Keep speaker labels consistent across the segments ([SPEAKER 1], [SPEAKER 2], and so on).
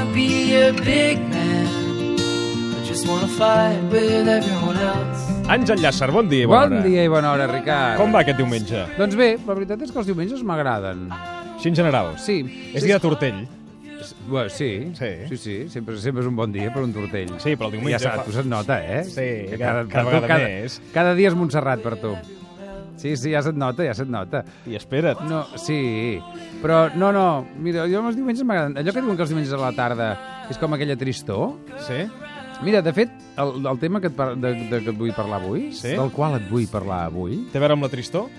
[SPEAKER 1] a big man. I just wanna fight with everyone else.
[SPEAKER 2] Àngel Llàcer, bon dia i bona
[SPEAKER 3] Bon
[SPEAKER 2] hora.
[SPEAKER 3] dia i bona hora, Ricard.
[SPEAKER 2] Com va aquest diumenge?
[SPEAKER 3] Doncs bé, la veritat és que els diumenges m'agraden.
[SPEAKER 2] Així en general.
[SPEAKER 3] Sí.
[SPEAKER 2] És dia de tortell.
[SPEAKER 3] Bueno, sí, sí,
[SPEAKER 2] Sí.
[SPEAKER 3] sí, sí. Sempre, sempre és un bon dia per un tortell.
[SPEAKER 2] Sí, però el diumenge
[SPEAKER 3] Ja saps,
[SPEAKER 2] fa-
[SPEAKER 3] tu se't nota, eh?
[SPEAKER 2] Sí,
[SPEAKER 3] Que
[SPEAKER 2] cada- cada
[SPEAKER 3] per tu
[SPEAKER 2] vegada
[SPEAKER 3] cada,
[SPEAKER 2] més.
[SPEAKER 3] Cada dia és Montserrat per tu. Sí, sí, ja se't nota, ja se't nota.
[SPEAKER 2] I espera't.
[SPEAKER 3] No, sí, però no, no, mira, jo els diumenges m'agraden. Allò que diuen que els diumenges a la tarda és com aquella tristor,
[SPEAKER 2] Sí?
[SPEAKER 3] Mira, de fet, el, el tema que et, par- de, de, que et vull parlar avui,
[SPEAKER 2] Sí?
[SPEAKER 3] del qual et vull parlar avui...
[SPEAKER 2] Té a veure amb la tristor?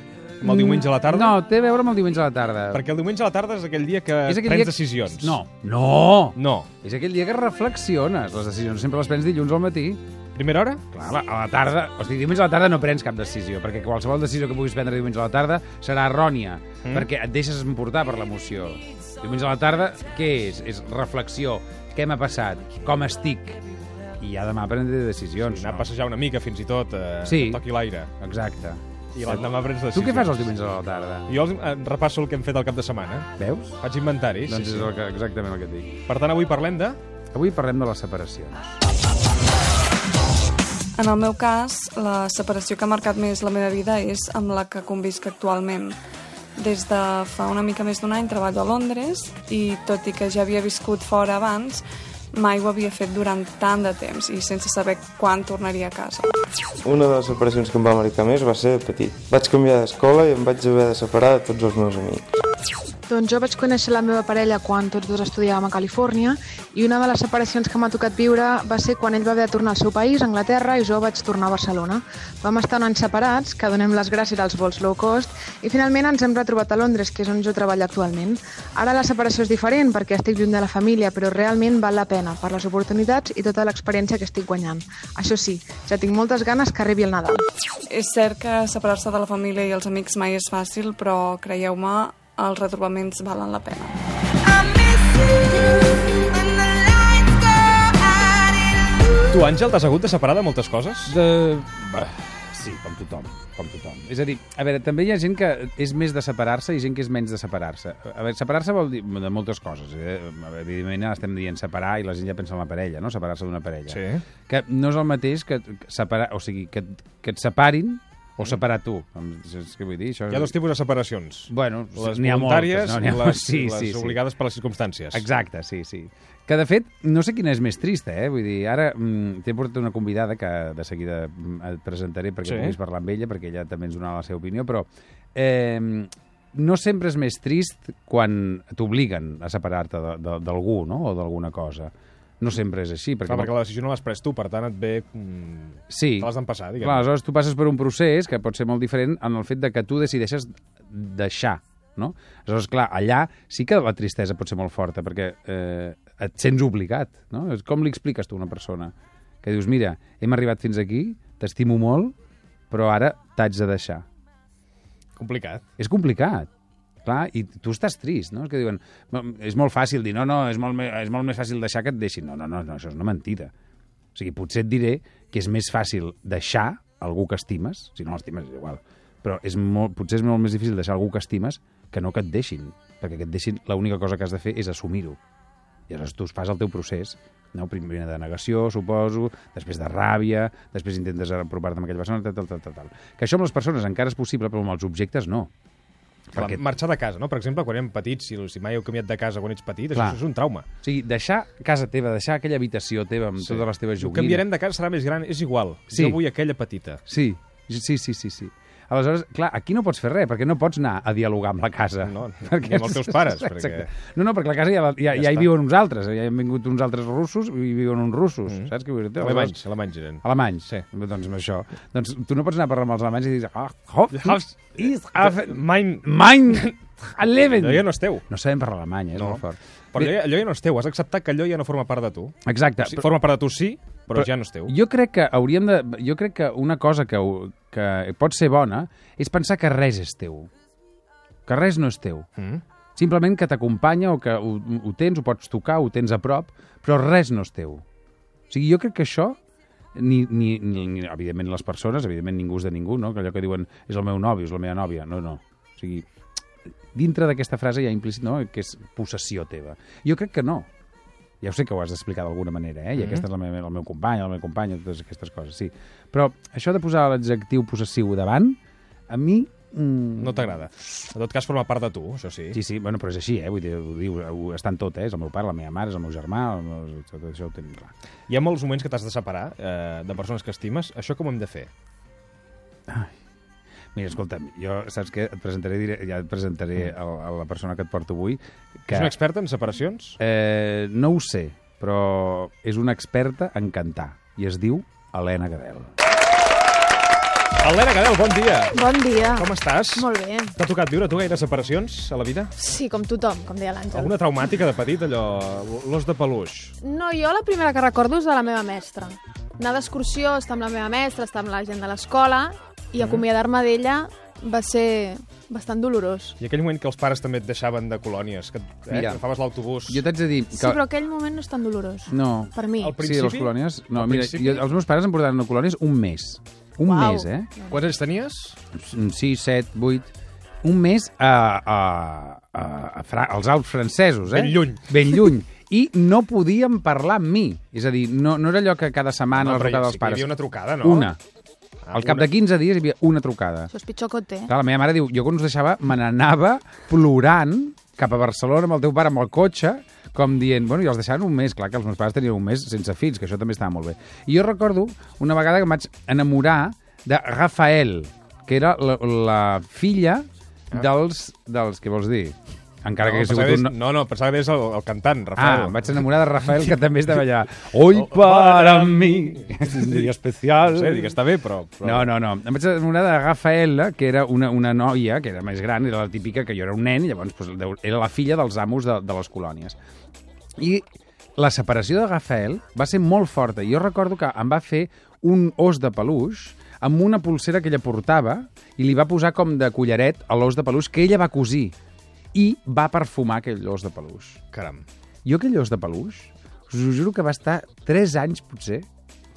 [SPEAKER 2] Amb el diumenge a la tarda?
[SPEAKER 3] Mm, No, té a veure amb el diumenge a la tarda.
[SPEAKER 2] Perquè el diumenge a la tarda és aquell dia que
[SPEAKER 3] És aquell
[SPEAKER 2] Eh, prens
[SPEAKER 3] dia que-
[SPEAKER 2] decisions.
[SPEAKER 3] No, no!
[SPEAKER 2] No.
[SPEAKER 3] És aquell dia que reflexiones. Les decisions sempre les prens dilluns al matí.
[SPEAKER 2] Primera hora?
[SPEAKER 3] Clar, a la, a la tarda... O sigui, diumenge a la tarda no prens cap decisió, perquè qualsevol decisió que puguis prendre diumenge a la tarda serà errònia, mm. perquè et deixes emportar per l'emoció. Diumenge a la tarda, què és? És reflexió. Què m'ha passat? Com estic? I ja demà prendre decisions.
[SPEAKER 2] Anar a
[SPEAKER 3] Doncs no?
[SPEAKER 2] passejar una mica, fins i tot, eh,
[SPEAKER 3] Sí.
[SPEAKER 2] que toqui l'aire.
[SPEAKER 3] Exacte.
[SPEAKER 2] I l'endemà prens decisions.
[SPEAKER 3] Tu què fas els diumenges a la tarda?
[SPEAKER 2] Jo els, eh, repasso el que hem fet el cap de setmana.
[SPEAKER 3] Veus?
[SPEAKER 2] Faig inventaris.
[SPEAKER 3] Doncs és
[SPEAKER 2] sí,
[SPEAKER 3] el que, exactament el que et dic.
[SPEAKER 2] sí. Per tant, avui parlem de...
[SPEAKER 3] Avui parlem de les separacions.
[SPEAKER 4] En el meu cas, la separació que ha marcat més la meva vida és amb la que convisc actualment. Des de fa una mica més d'un any treballo a Londres i, tot i que ja havia viscut fora abans, mai ho havia fet durant tant de temps i sense saber quan tornaria a casa.
[SPEAKER 5] Una de les operacions que em va marcar més va ser petit. Vaig canviar d'escola i em vaig haver de separar de tots els meus amics.
[SPEAKER 6] Doncs jo vaig conèixer la meva parella quan tots dos estudiàvem a Califòrnia i una de les separacions que m'ha tocat viure va ser quan ell va haver de tornar al seu país, a Anglaterra, i jo vaig tornar a Barcelona. Vam estar un any separats, que donem les gràcies als vols low cost, i finalment ens hem retrobat a Londres, que és on jo treballo actualment. Ara la separació és diferent perquè estic lluny de la família, però realment val la pena per les oportunitats i tota l'experiència que estic guanyant. Això sí, ja tinc moltes ganes que arribi el Nadal.
[SPEAKER 4] És cert que separar-se de la família i els amics mai és fàcil, però creieu-me, els retrobaments valen la pena.
[SPEAKER 2] Tu, Àngel, t'has hagut de separar de moltes coses?
[SPEAKER 3] De... Bah, sí, com tothom, com tothom. És a dir, a veure, també hi ha gent que és més de separar-se i gent que és menys de separar-se. A veure, separar-se vol dir de moltes coses. Eh? A veure, Evidentment, ara estem dient separar i la gent ja pensa en la parella, no? Separar-se d'una parella.
[SPEAKER 2] Sí.
[SPEAKER 3] Que no és el mateix que separar... O sigui, que, que et separin o separar tu. Em- Saps què vull dir? Això...
[SPEAKER 2] Mm. Hi ha dos tipus de separacions.
[SPEAKER 3] Bueno,
[SPEAKER 2] les
[SPEAKER 3] n'hi ha moltes,
[SPEAKER 2] voluntàries
[SPEAKER 3] no? N'hi ha-
[SPEAKER 2] i les,
[SPEAKER 3] sí,
[SPEAKER 2] les
[SPEAKER 3] sí, sí.
[SPEAKER 2] obligades per les circumstàncies.
[SPEAKER 3] Exacte, sí, sí. Que, de fet, no sé quina és més trista, eh? Vull dir, ara mm, t'he portat una convidada que de seguida mm, et presentaré perquè
[SPEAKER 2] Sí.
[SPEAKER 3] sí. puguis parlar amb ella, perquè ella també ens donarà la seva opinió, però eh, no sempre és més trist quan t'obliguen a separar-te de- de- d'algú, no?, o d'alguna cosa. No sempre és així, perquè...
[SPEAKER 2] Clar, perquè la decisió no l'has pres tu, per tant et ve... mm,
[SPEAKER 3] Sí.
[SPEAKER 2] Te l'has d'empassar, diguem.
[SPEAKER 3] Clar, aleshores tu passes per un procés que pot ser molt diferent en el fet de que tu decideixes deixar, no? Aleshores, clar, allà sí que la tristesa pot ser molt forta perquè eh, et sents obligat, no? És Com li expliques tu a una persona? Que dius, mira, hem arribat fins aquí, t'estimo molt, però ara t'haig de deixar.
[SPEAKER 2] Complicat.
[SPEAKER 3] És complicat. Clar, i tu estàs trist, no? És que diuen, "No, és molt fàcil dir, no, no, és molt, me- és molt més fàcil deixar que et deixin. No, no, no, no, això és una mentida. O sigui, potser et diré que és més fàcil deixar algú que estimes, si no l'estimes és igual, però és molt, potser és molt més difícil deixar algú que estimes que no que et deixin, perquè que et deixin l'única cosa que has de fer és assumir-ho. I aleshores tu fas el teu procés, no? primer de negació, suposo, després de ràbia, després intentes apropar-te amb aquella persona, tal, tal, tal, tal, tal. Que això amb les persones encara és possible, però amb els objectes no.
[SPEAKER 2] Clar,
[SPEAKER 3] Perquè-
[SPEAKER 2] Marxar de casa, no? Per exemple, quan érem petits, si, si mai heu canviat de casa quan ets petit, això,
[SPEAKER 3] Clar.
[SPEAKER 2] això és un trauma.
[SPEAKER 3] O sigui, deixar casa teva, deixar aquella habitació teva amb sí. totes les teves
[SPEAKER 2] Ho
[SPEAKER 3] joguines...
[SPEAKER 2] canviarem de casa, serà més gran, és igual.
[SPEAKER 3] Sí.
[SPEAKER 2] Jo vull aquella petita.
[SPEAKER 3] Sí, sí, sí, sí, sí. Aleshores, clar, aquí no pots fer res, perquè no pots anar a dialogar amb la casa.
[SPEAKER 2] No, ni amb els teus pares, perquè-
[SPEAKER 3] Exacte. No, no, perquè la casa ja, la- ja,
[SPEAKER 2] Ja
[SPEAKER 3] ja, ja hi
[SPEAKER 2] està.
[SPEAKER 3] viuen uns altres, ja hi han vingut uns altres russos i hi viuen uns russos, mm -hmm. saps què vull dir?
[SPEAKER 2] Alemanys, alemanys eren.
[SPEAKER 3] Alemanys,
[SPEAKER 2] Sí.
[SPEAKER 3] sí. doncs amb això. Doncs tu no pots anar a parlar amb els alemanys i dir... Ah, hof,
[SPEAKER 2] Hof-
[SPEAKER 3] is, af,
[SPEAKER 2] Mein...
[SPEAKER 3] mein, eleven.
[SPEAKER 2] Allò ja no és teu.
[SPEAKER 3] No sabem parlar alemany, eh? és molt fort.
[SPEAKER 2] Però allò, ja- allò ja no és teu. Has acceptat que allò ja no forma part de tu.
[SPEAKER 3] Exacte.
[SPEAKER 2] Sí, forma part de tu sí, però, ja no és teu.
[SPEAKER 3] Jo crec que hauríem de... Jo crec que una cosa que, ho- que pot ser bona és pensar que res és teu. Que res no és teu.
[SPEAKER 2] Mm.
[SPEAKER 3] Simplement que t'acompanya o que ho, ho tens, ho pots tocar, ho tens a prop, però res no és teu. O sigui, jo crec que això, ni, ni, ni, ni evidentment les persones, evidentment ningú és de ningú, no? que allò que diuen és el meu nòvio, és la meva nòvia, no, no. O sigui, dintre d'aquesta frase hi ha implícit no? que és possessió teva. Jo crec que no. Ja ho sé que ho has d'explicar d'alguna manera, eh? I mm -hmm. aquesta és la meva, el meu company, el meu company, totes aquestes coses, sí. Però això de posar l'adjectiu possessiu davant, a mi... Mm,
[SPEAKER 2] No t'agrada. En tot cas, forma part de tu, això sí.
[SPEAKER 3] Sí, sí, bueno, però és així, eh? Vull dir, ho, diu, ho està en tot, eh? És el meu pare, la meva mare, és el meu germà, el meu... Tot això ho tenim clar.
[SPEAKER 2] Hi ha molts moments que t'has de separar eh, de persones que estimes. Això com ho hem de fer?
[SPEAKER 3] Mira, escolta'm, jo saps que et presentaré, dire- ja et presentaré a, a la persona que et porto avui,
[SPEAKER 2] Que... Mm.
[SPEAKER 3] que
[SPEAKER 2] És una experta en separacions?
[SPEAKER 3] eh, no ho sé, però és una experta en cantar i es diu Helena Gadel.
[SPEAKER 2] Helena Cadel, bon dia!
[SPEAKER 7] Bon dia.
[SPEAKER 2] Com estàs?
[SPEAKER 7] Molt bé.
[SPEAKER 2] T'ha tocat viure, tu, gaire separacions a la vida?
[SPEAKER 7] Sí, com tothom, com deia l'Àngel.
[SPEAKER 2] Alguna traumàtica de petit, allò, l'os de peluix?
[SPEAKER 7] No, jo la primera que recordo és de la meva mestra. Anar d'excursió, estar amb la meva mestra, estar amb la gent de l'escola, i
[SPEAKER 3] Mhm.
[SPEAKER 7] acomiadar-me d'ella va ser bastant dolorós.
[SPEAKER 2] I aquell moment que els pares també et deixaven de colònies, que, et- eh,
[SPEAKER 3] Mira.
[SPEAKER 2] que agafaves l'autobús...
[SPEAKER 3] Jo t'haig de dir... Que...
[SPEAKER 7] Sí, però aquell moment no és tan dolorós.
[SPEAKER 3] No.
[SPEAKER 7] Per mi.
[SPEAKER 2] Al pr-
[SPEAKER 3] Sí,
[SPEAKER 2] principi?
[SPEAKER 3] les colònies... No,
[SPEAKER 2] Al
[SPEAKER 3] mira,
[SPEAKER 2] principi?
[SPEAKER 3] jo, els meus pares em portaven a colònies un mes. Un
[SPEAKER 7] Uau.
[SPEAKER 3] mes, eh?
[SPEAKER 2] Quants anys tenies?
[SPEAKER 3] 6, 7, 8... Un mes a, a, a, a Fra als Alps francesos, eh?
[SPEAKER 2] Ben lluny.
[SPEAKER 3] Ben lluny. I no podíem parlar amb mi. És a dir, no, no era allò que cada setmana no,
[SPEAKER 2] però ja
[SPEAKER 3] els trucava
[SPEAKER 2] Ah, sí que
[SPEAKER 3] els
[SPEAKER 2] hi
[SPEAKER 3] pares.
[SPEAKER 2] havia una trucada, no? Ah,
[SPEAKER 3] Una. Al cap de 15 dies hi havia una trucada.
[SPEAKER 7] Això és pitjor que ho té.
[SPEAKER 3] Clar, la meva mare diu, jo quan us deixava me n'anava plorant cap a Barcelona amb el teu pare amb el cotxe, com dient, bueno, i els deixaven un mes, clar que els meus pares tenien un mes sense fills, que això també estava molt bé. I jo recordo una vegada que em vaig enamorar de Rafael, que era la, la filla dels, dels... Què vols dir? Encara que hagués
[SPEAKER 2] pensava
[SPEAKER 3] sigut un...
[SPEAKER 2] que és- No, no, pensava que és el, el cantant,
[SPEAKER 3] Ah,
[SPEAKER 2] Rafael.
[SPEAKER 3] em vaig enamorar de Rafael, que també estava allà. Hoy para mi, un dia especial.
[SPEAKER 2] No sé, dic, està bé, però... però...
[SPEAKER 3] Ah, No, no, no. Em vaig enamorar de Rafaela, que era una, una noia, que era més gran, era la típica que jo era un nen, i llavors doncs, deu- era la filla dels amos de, de les colònies. I la separació de Rafael va ser molt forta. Jo recordo que em va fer un os de peluix amb una pulsera que ella portava i li va posar com de collaret a l'os de peluix que ella va cosir i va perfumar aquell os de peluix.
[SPEAKER 2] Caram.
[SPEAKER 3] Jo aquell os de peluix, us ho juro que va estar 3 anys, potser,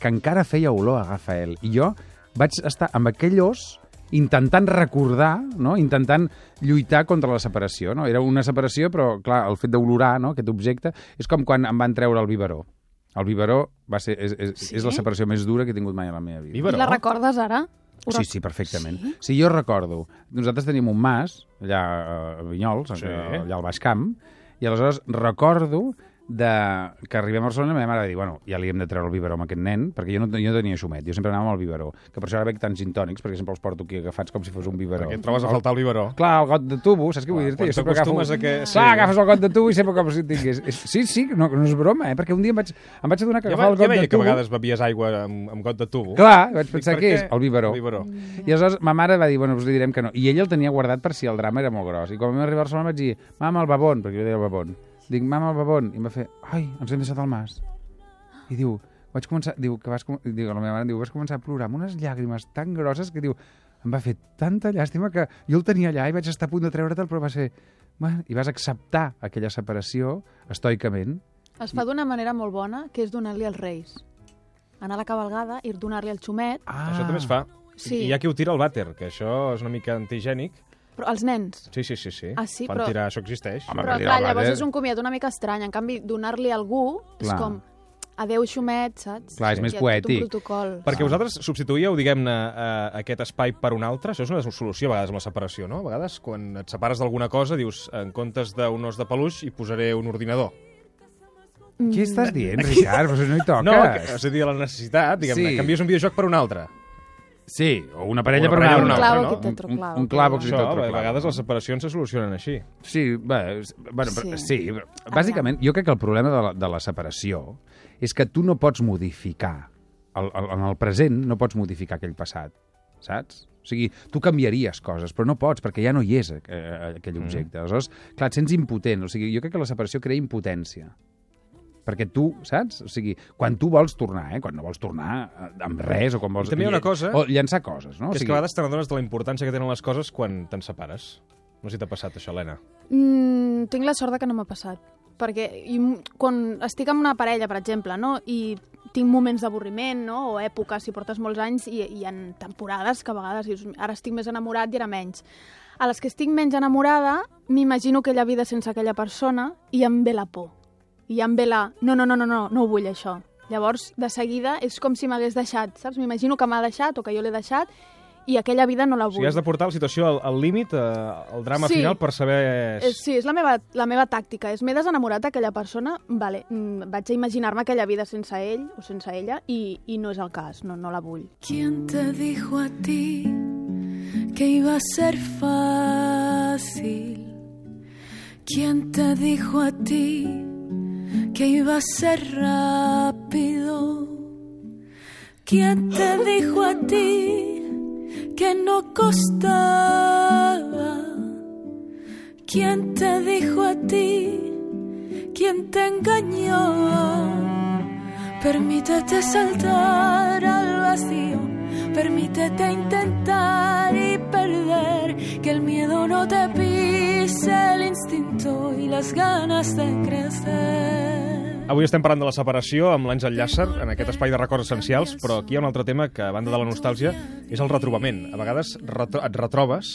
[SPEAKER 3] que encara feia olor a Rafael. I jo vaig estar amb aquell os intentant recordar, no? intentant lluitar contra la separació. No? Era una separació, però, clar, el fet d'olorar no? aquest objecte és com quan em van treure el biberó. El biberó va ser, és, és, sí? és la separació més dura que he tingut mai a la meva vida.
[SPEAKER 2] Biberó?
[SPEAKER 7] I la recordes ara? Ho
[SPEAKER 3] Sí,
[SPEAKER 7] rec-
[SPEAKER 3] sí, perfectament. Sí? sí, jo recordo. Nosaltres tenim un mas, allà eh, a Vinyols,
[SPEAKER 2] Sí.
[SPEAKER 3] sí. allà al Baix Camp, i aleshores recordo de... que arribem a Barcelona i la meva mare va dir, bueno, ja li hem de treure el biberó a aquest nen, perquè jo no, jo no tenia xumet, jo sempre anava amb el biberó, que per això ara bec tants gintònics, perquè sempre els porto aquí agafats com si fos un biberó.
[SPEAKER 2] Perquè et trobes a faltar el biberó.
[SPEAKER 3] Clar, el got de tubo, saps què vull
[SPEAKER 2] Clar,
[SPEAKER 3] dir-te?
[SPEAKER 2] quan
[SPEAKER 3] Jo sempre agafo-
[SPEAKER 2] t'acostumes a que- sí.
[SPEAKER 3] Clar, agafes el got de tubo i sempre com si tingués... és- Sí, sí, no, no és broma, eh? Perquè un dia em vaig, em vaig adonar que
[SPEAKER 2] Ja,
[SPEAKER 3] agafava
[SPEAKER 2] va, ja
[SPEAKER 3] el got
[SPEAKER 2] veia
[SPEAKER 3] de
[SPEAKER 2] que a
[SPEAKER 3] tubo...
[SPEAKER 2] vegades bevies aigua amb, amb got de tubo.
[SPEAKER 3] Clar, vaig
[SPEAKER 2] Dic,
[SPEAKER 3] pensar
[SPEAKER 2] per
[SPEAKER 3] que
[SPEAKER 2] què?
[SPEAKER 3] és el biberó.
[SPEAKER 2] El biberó.
[SPEAKER 3] I aleshores ma mare va dir, bueno, doncs li direm que no. I ella el tenia guardat per si el drama era molt gros. I quan vam arribar a Barcelona vaig dir, mama, el babon, perquè jo deia el babon. Dic, mama, el babon. I em va fer, ai, ens hem deixat al mas. I diu, vaig començar, diu, que vas, com- diu, la meva mare em diu, vas començar a plorar amb unes llàgrimes tan grosses que diu, em va fer tanta llàstima que jo el tenia allà i vaig estar a punt de treure'l, però va ser... Bueno, I vas acceptar aquella separació estoicament.
[SPEAKER 7] Es fa d'una manera molt bona, que és donar-li als reis. Anar a la cabalgada i donar-li el xumet,
[SPEAKER 3] Ah,
[SPEAKER 2] Això també es fa.
[SPEAKER 7] Sí.
[SPEAKER 2] I hi ha qui ho tira al vàter, que això és una mica antigènic.
[SPEAKER 7] però als nens.
[SPEAKER 2] Sí, sí, sí. sí.
[SPEAKER 7] Ah, sí,
[SPEAKER 2] Fan
[SPEAKER 7] però-
[SPEAKER 2] tirar, això existeix.
[SPEAKER 3] Home,
[SPEAKER 7] Però
[SPEAKER 3] Maria
[SPEAKER 7] clar,
[SPEAKER 3] Laura,
[SPEAKER 7] llavors
[SPEAKER 3] eh?
[SPEAKER 7] és un comiat una mica estrany. En canvi, donar-li a algú
[SPEAKER 3] Clar.
[SPEAKER 7] és com... Adéu, xumet, saps?
[SPEAKER 3] Clar, és més
[SPEAKER 7] Hi ha tot un
[SPEAKER 3] poètic.
[SPEAKER 7] protocol.
[SPEAKER 2] Perquè vosaltres substituïeu, diguem-ne, eh, aquest espai per un altre. Això és una solució a vegades amb la separació, no? A vegades, quan et separes d'alguna cosa, dius, en comptes d'un os de peluix, hi posaré un ordinador.
[SPEAKER 3] Què estàs dient, Ricard? Però això no hi toques.
[SPEAKER 2] No, que, és a dir, la necessitat, diguem-ne.
[SPEAKER 3] Sí.
[SPEAKER 2] Sí. Canvies un videojoc per un altre.
[SPEAKER 3] Sí, o una parella,
[SPEAKER 2] Una parella
[SPEAKER 3] per una
[SPEAKER 2] per una
[SPEAKER 3] altra.
[SPEAKER 2] altra,
[SPEAKER 7] Un clavo no? quitatruclavo.
[SPEAKER 3] Un, un clavo
[SPEAKER 7] Sí,
[SPEAKER 2] Això,
[SPEAKER 3] quitatruclavo.
[SPEAKER 2] a vegades les separacions se solucionen així.
[SPEAKER 3] Sí, bé, és- bueno, sí. Però,
[SPEAKER 7] Sí.
[SPEAKER 3] sí però, bàsicament, jo crec que el problema de la, de la separació és que tu no pots modificar. El, el, en el present no pots modificar aquell passat, saps? O sigui, tu canviaries coses, però no pots, perquè ja no hi és eh, aquell objecte. Mm. Aleshores, clar, et sents impotent. O sigui, jo crec que la separació crea impotència. Perquè tu, saps? O sigui, quan tu vols tornar, eh? Quan no vols tornar eh, amb res o quan vols...
[SPEAKER 2] també hi ha una cosa-
[SPEAKER 3] O llançar coses, no?
[SPEAKER 2] No,
[SPEAKER 3] O
[SPEAKER 2] és
[SPEAKER 3] sigui,
[SPEAKER 2] que a vegades te n'adones de la importància que tenen les coses quan te'n separes. No sé si t'ha passat això, Helena.
[SPEAKER 7] Mm, tinc la sort de que no m'ha passat. Perquè i, m- quan estic amb una parella, per exemple, no? i tinc moments d'avorriment, no? o èpoques, si portes molts anys, i, i en temporades que a vegades dius, ara estic més enamorat i ara menys. A les que estic menys enamorada, m'imagino aquella vida sense aquella persona i em ve la por. i ja em ve la... No, no, no, no, no, no ho vull, això. Llavors, de seguida, és com si m'hagués deixat, saps? M'imagino que m'ha deixat o que jo l'he deixat i aquella vida no
[SPEAKER 2] O
[SPEAKER 7] la vull.
[SPEAKER 2] sigui, has de portar la situació al- al límit, eh, al drama
[SPEAKER 7] Sí.
[SPEAKER 2] final, per saber...
[SPEAKER 7] Eh, Sí, és la meva, la meva tàctica. És m'he desenamorat d'aquella persona, vale, mm, vaig a imaginar-me aquella vida sense ell o sense ella i, i no és el cas, no, no la vull.
[SPEAKER 8] ¿Quién te dijo a ti que iba a ser fácil? ¿Quién te dijo a ti que iba a ser rápido? ¿Quién te dijo a ti que no costaba? ¿Quién te dijo a ti? ¿Quién te engañó? Permítete saltar al vacío, permítete intentar y perder, que el miedo no te pise el instinto y las ganas de crecer.
[SPEAKER 2] Avui estem parlant de la separació amb l'Àngel Llàcer en aquest espai de records essencials, però aquí hi ha un altre tema que, a banda de la nostàlgia, és el retrobament. A vegades retro et retrobes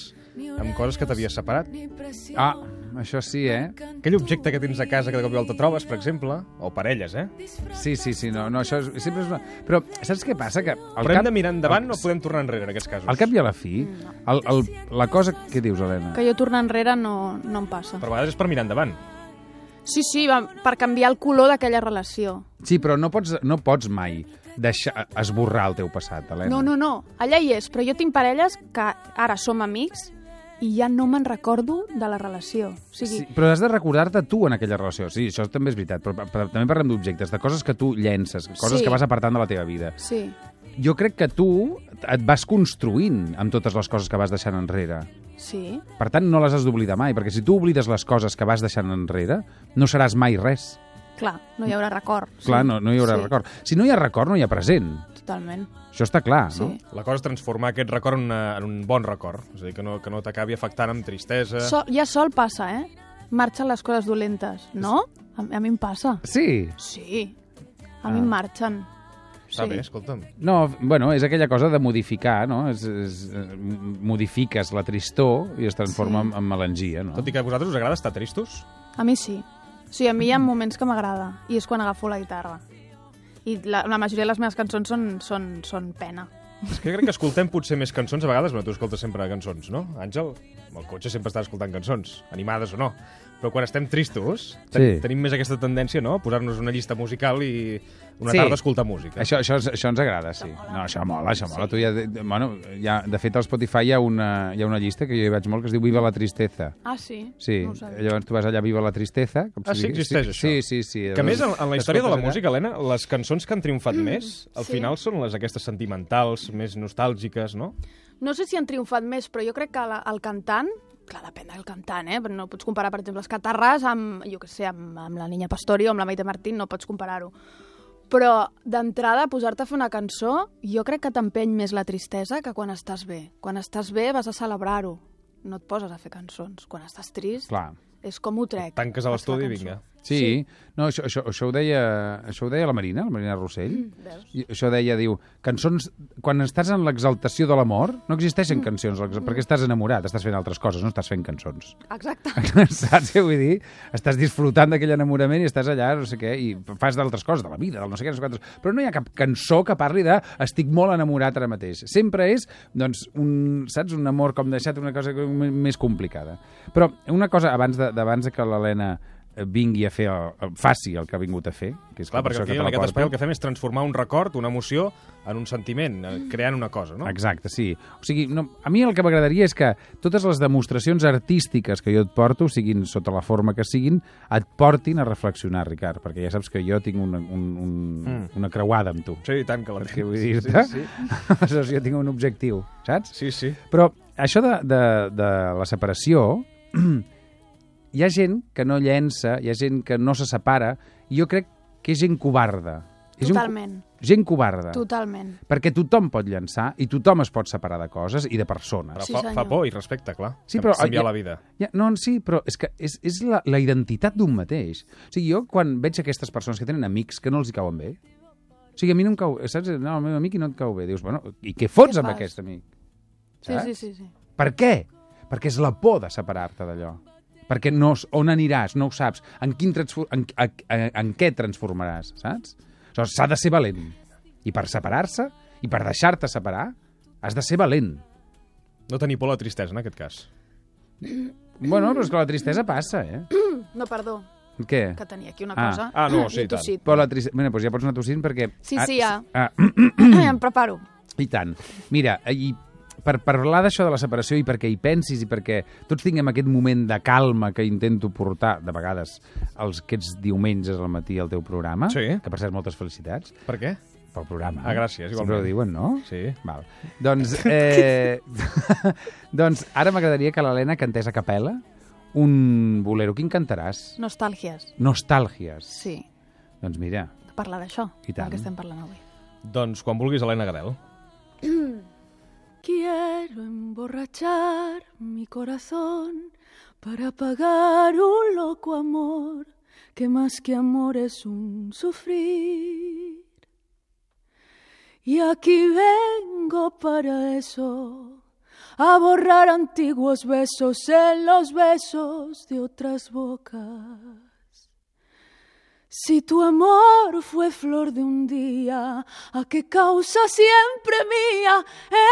[SPEAKER 2] amb coses que t'havies separat.
[SPEAKER 8] Ni presión
[SPEAKER 3] Ah, això sí, eh?
[SPEAKER 2] Aquell objecte que tens a casa que de cop i volta trobes, per exemple, o parelles, eh?
[SPEAKER 3] Sí, sí, sí, no, no això és, sempre és una... Però saps què passa? Que al
[SPEAKER 2] Però hem
[SPEAKER 3] cap,
[SPEAKER 2] de mirar endavant o
[SPEAKER 3] al-
[SPEAKER 2] podem tornar enrere en aquests casos?
[SPEAKER 3] al cap i a la fi, el, el, la cosa... Què dius, Helena?
[SPEAKER 7] Que jo tornar enrere no, no em passa.
[SPEAKER 2] Però a vegades és per mirar endavant.
[SPEAKER 7] Sí, sí, va, per canviar el color d'aquella relació.
[SPEAKER 3] Sí, però no pots, no pots mai deixar esborrar el teu passat, Helena.
[SPEAKER 7] No, no, no, allà hi és, però jo tinc parelles que ara som amics i ja no me'n recordo de la relació. O sigui,
[SPEAKER 3] Sí, però has de recordar-te tu en aquella relació. Sí, això també és veritat, però, però també parlem d'objectes, de coses que tu llences, coses
[SPEAKER 7] Sí.
[SPEAKER 3] que vas apartant de la teva vida.
[SPEAKER 7] sí.
[SPEAKER 3] Jo crec que tu et vas construint amb totes les coses que vas deixant enrere.
[SPEAKER 7] Sí,
[SPEAKER 3] Per tant, no les has d'oblidar mai, perquè si tu oblides les coses que vas deixant enrere, no seràs mai res.
[SPEAKER 7] clar, no hi haurà record. Sí.
[SPEAKER 3] Clar, no, no hi haurà
[SPEAKER 7] sí,
[SPEAKER 3] sí. record. Si no hi ha record, no hi ha present.
[SPEAKER 7] Totalment,
[SPEAKER 3] Això està clar,
[SPEAKER 7] sí.
[SPEAKER 3] no?
[SPEAKER 2] La cosa és transformar aquest record en, una, en un bon record. És a dir, que no, que no t'acabi afectant amb tristesa.
[SPEAKER 7] Sol, ja sol passa, eh? Marxen les coses dolentes, no? A, a mi em passa.
[SPEAKER 3] Sí.
[SPEAKER 7] Sí, a mi em marxen.
[SPEAKER 2] Està
[SPEAKER 7] sí.
[SPEAKER 2] bé, escolta'm.
[SPEAKER 3] No, bueno, és aquella cosa de modificar, no? És, és, eh, modifiques la tristor i es transforma sí. en, en melangia, no?
[SPEAKER 2] Tot i que a vosaltres us agrada estar tristos,
[SPEAKER 7] A mi sí. Sí, a mi hi ha moments que m'agrada i és quan agafo la guitarra. I la, la majoria de les meves cançons són, són, són pena.
[SPEAKER 2] és que crec que escoltem potser més cançons a vegades, bueno, tu escoltes sempre cançons, no? Àngel, amb el cotxe sempre estàs escoltant cançons, animades o no. Però quan estem tristos, ten
[SPEAKER 3] Sí.
[SPEAKER 2] tenim més aquesta tendència, no?, a posar-nos una llista musical i una
[SPEAKER 3] Sí.
[SPEAKER 2] tarda escoltar música.
[SPEAKER 3] Això, això, és- això ens agrada, sí. No, això mola, això mola. Tu ja, de- bueno, ja, de fet, al Spotify hi ha, una, hi ha una llista que jo hi vaig molt que es diu Viva la Tristeza.
[SPEAKER 7] Ah, sí?
[SPEAKER 3] Sí,
[SPEAKER 7] No ho sabia.
[SPEAKER 3] llavors tu vas allà, Viva la Tristeza. Com
[SPEAKER 2] Ah, sí,
[SPEAKER 3] digui.
[SPEAKER 2] existeix
[SPEAKER 3] sí,
[SPEAKER 2] això.
[SPEAKER 3] Sí, sí, sí.
[SPEAKER 2] Que a més, en, en la història de la
[SPEAKER 3] Escoltes allà.
[SPEAKER 2] música, Helena, les cançons que han triomfat més, al
[SPEAKER 7] Mm, sí.
[SPEAKER 2] final són les aquestes sentimentals, més nostàlgiques, no?
[SPEAKER 7] No sé si han triomfat més, però jo crec que la, el cantant, clar, depèn del cantant, eh? però no pots comparar, per exemple, els Catarras amb, jo què sé, amb, amb la Niña Pastorio, amb la Maite Martín, no pots comparar-ho. Però, d'entrada, posar-te a fer una cançó, jo crec que t'empeny més la tristesa que quan estàs bé. Quan estàs bé vas a celebrar-ho. No et poses a fer cançons. Quan estàs trist,
[SPEAKER 3] Clar.
[SPEAKER 7] és com ho trec.
[SPEAKER 2] Tanques a
[SPEAKER 7] Faig la
[SPEAKER 2] l'estudi i
[SPEAKER 7] cançó.
[SPEAKER 2] vinga.
[SPEAKER 3] Sí, sí. no, això, això, això, ho deia, això ho deia la Marina, la Marina Rossell. Mm, I això deia, diu, cançons... Quan estàs en l'exaltació de l'amor, no
[SPEAKER 7] Mm.
[SPEAKER 3] existeixen cançons, l'ex- perquè estàs enamorat, estàs fent altres coses, no estàs fent cançons.
[SPEAKER 7] Exacte.
[SPEAKER 3] Saps què vull dir? Estàs disfrutant d'aquell enamorament i estàs allà, no sé què, i fas d'altres coses, de la vida, del no sé què, no sé quantes... Però no hi ha cap cançó que parli de estic molt enamorat ara mateix. Sempre és, doncs, un, saps, un amor com deixat, una cosa com més complicada. Però una cosa, abans de, d'abans de que l'Helena eh, vingui a fer, el, el, faci el que ha vingut a fer, que és
[SPEAKER 2] Clar,
[SPEAKER 3] la
[SPEAKER 2] perquè
[SPEAKER 3] persona
[SPEAKER 2] aquí
[SPEAKER 3] que te
[SPEAKER 2] en
[SPEAKER 3] la
[SPEAKER 2] aquest
[SPEAKER 3] porta.
[SPEAKER 2] espai el que fem és transformar un record, una emoció, en un sentiment, eh,
[SPEAKER 7] Mm.
[SPEAKER 2] creant una cosa, no?
[SPEAKER 3] Exacte, sí. O sigui, no, a mi el que m'agradaria és que totes les demostracions artístiques que jo et porto, siguin sota la forma que siguin, et portin a reflexionar, Ricard, perquè ja saps que jo tinc una, un, un, mm. una creuada amb tu.
[SPEAKER 2] Sí, i tant que la
[SPEAKER 3] Saps què
[SPEAKER 2] tens.
[SPEAKER 3] vull dir?
[SPEAKER 2] Sí, sí.
[SPEAKER 3] Aleshores, jo tinc un objectiu, saps?
[SPEAKER 2] Sí, sí.
[SPEAKER 3] Però això de, de, de la separació, hi ha gent que no llença, hi ha gent que no se separa, i jo crec que és gent covarda. És gent-
[SPEAKER 7] Totalment,
[SPEAKER 3] Gent covarda.
[SPEAKER 7] totalment.
[SPEAKER 3] Perquè tothom pot llençar i tothom es pot separar de coses i de persones.
[SPEAKER 2] Però
[SPEAKER 7] Sí,
[SPEAKER 2] fa, fa
[SPEAKER 7] senyor.
[SPEAKER 2] por i respecte, clar.
[SPEAKER 3] Sí, però- eh,
[SPEAKER 2] Canviar
[SPEAKER 3] ja-
[SPEAKER 2] la vida.
[SPEAKER 3] Ja, no, sí, però és que és, és la, la identitat d'un mateix. O sigui, jo quan veig aquestes persones que tenen amics que no els hi cauen bé, o sigui, a mi no em cau... Saps? No, el meu amic i no et cau bé. Dius, bueno, i què fots
[SPEAKER 7] Què
[SPEAKER 3] amb
[SPEAKER 7] fas?
[SPEAKER 3] aquest amic?
[SPEAKER 7] Sí, sí, sí, sí.
[SPEAKER 3] Per què? Perquè és la por de separar-te d'allò. perquè no, s- on aniràs, no ho saps, en, quin transfor- en, a, a, en què et transformaràs, saps? Aleshores, s'ha de ser valent. I per separar-se, i per deixar-te separar, has de ser valent.
[SPEAKER 2] No tenir por a la tristesa, en aquest cas.
[SPEAKER 3] Bueno, però és que la tristesa passa, eh?
[SPEAKER 7] No, perdó,
[SPEAKER 3] Què?
[SPEAKER 7] que tenia aquí una
[SPEAKER 3] Ah.
[SPEAKER 7] cosa.
[SPEAKER 2] Ah, no, sí,
[SPEAKER 7] I
[SPEAKER 2] tant.
[SPEAKER 7] tossit.
[SPEAKER 3] Però la tristesa... Bueno, doncs ja pots anar tossint perquè...
[SPEAKER 7] Sí, sí,
[SPEAKER 3] ah,
[SPEAKER 7] ja.
[SPEAKER 3] Ah,
[SPEAKER 7] em preparo.
[SPEAKER 3] I tant. Mira, eh, i per parlar d'això de la separació i perquè hi pensis i perquè tots tinguem aquest moment de calma que intento portar, de vegades, els, aquests diumenges al matí al teu programa,
[SPEAKER 2] Sí.
[SPEAKER 3] que per cert, moltes felicitats
[SPEAKER 2] Per què?
[SPEAKER 3] pel programa.
[SPEAKER 2] Ah, gràcies,
[SPEAKER 3] Sempre
[SPEAKER 2] igualment.
[SPEAKER 3] ho diuen, no?
[SPEAKER 2] Sí.
[SPEAKER 3] Val. Doncs, eh, doncs ara m'agradaria que l'Helena cantés a capella un bolero. Quin cantaràs?
[SPEAKER 7] Nostàlgies,
[SPEAKER 3] Nostàlgies.
[SPEAKER 7] sí.
[SPEAKER 3] Doncs mira,
[SPEAKER 7] De parlar d'això,
[SPEAKER 3] I tant.
[SPEAKER 7] del que estem parlant avui.
[SPEAKER 2] Doncs quan vulguis, Helena Gadel.
[SPEAKER 8] Quiero emborrachar mi corazón para pagar un loco amor que más que amor es un sufrir. Y aquí vengo para eso, a borrar antiguos besos en los besos de otras bocas. Si tu amor fue flor de un día, ¿a qué causa siempre mía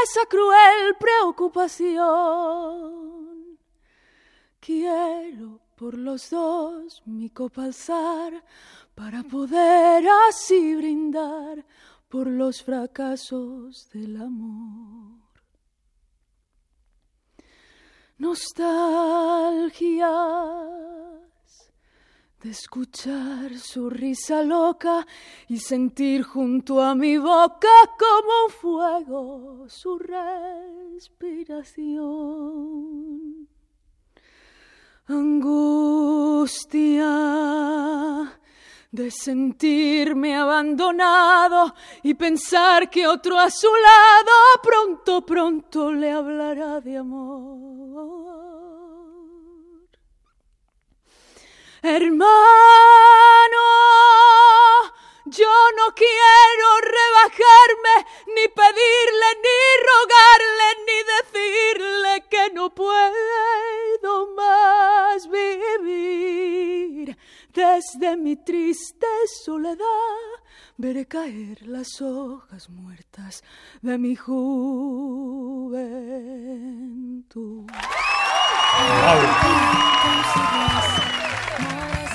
[SPEAKER 8] esa cruel preocupación? Quiero por los dos mi copa alzar para poder así brindar por los fracasos del amor. Nostalgias de escuchar su risa loca y sentir junto a mi boca como fuego su respiración. Angustia de sentirme abandonado y pensar que otro a su lado pronto, pronto le hablará de amor. Hermano, yo no quiero rebajarme, ni pedirle, ni rogarle, ni decirle que no puedo más vivir. Desde mi triste soledad veré caer las hojas muertas de mi juventud.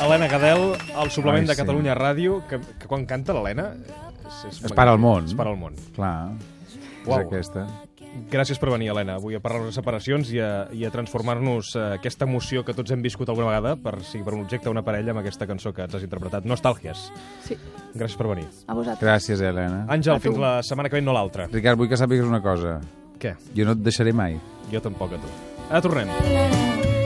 [SPEAKER 2] Helena Gadel, al suplement
[SPEAKER 3] Ai,
[SPEAKER 2] de
[SPEAKER 3] sí.
[SPEAKER 2] Catalunya Ràdio, que, que quan canta l'Helena... és- és
[SPEAKER 3] Es para al món.
[SPEAKER 2] Es para al món.
[SPEAKER 3] clar,
[SPEAKER 2] Uau.
[SPEAKER 3] és aquesta.
[SPEAKER 2] Gràcies per venir, Helena, avui a parlar-nos de separacions i a, i a transformar-nos eh, aquesta emoció que tots hem viscut alguna vegada, per, sigui per un objecte o una parella, amb aquesta cançó que ens has interpretat. Nostàlgies.
[SPEAKER 7] Sí,
[SPEAKER 2] Gràcies per venir.
[SPEAKER 7] a vosaltres.
[SPEAKER 3] Gràcies, Helena.
[SPEAKER 2] Àngel, fins la setmana que ve, no l'altra.
[SPEAKER 3] Ricard, vull que sàpigues una cosa.
[SPEAKER 2] Què?
[SPEAKER 3] Jo no et deixaré mai.
[SPEAKER 2] Jo tampoc a tu. Ara Ah, tornem.
[SPEAKER 8] la, la,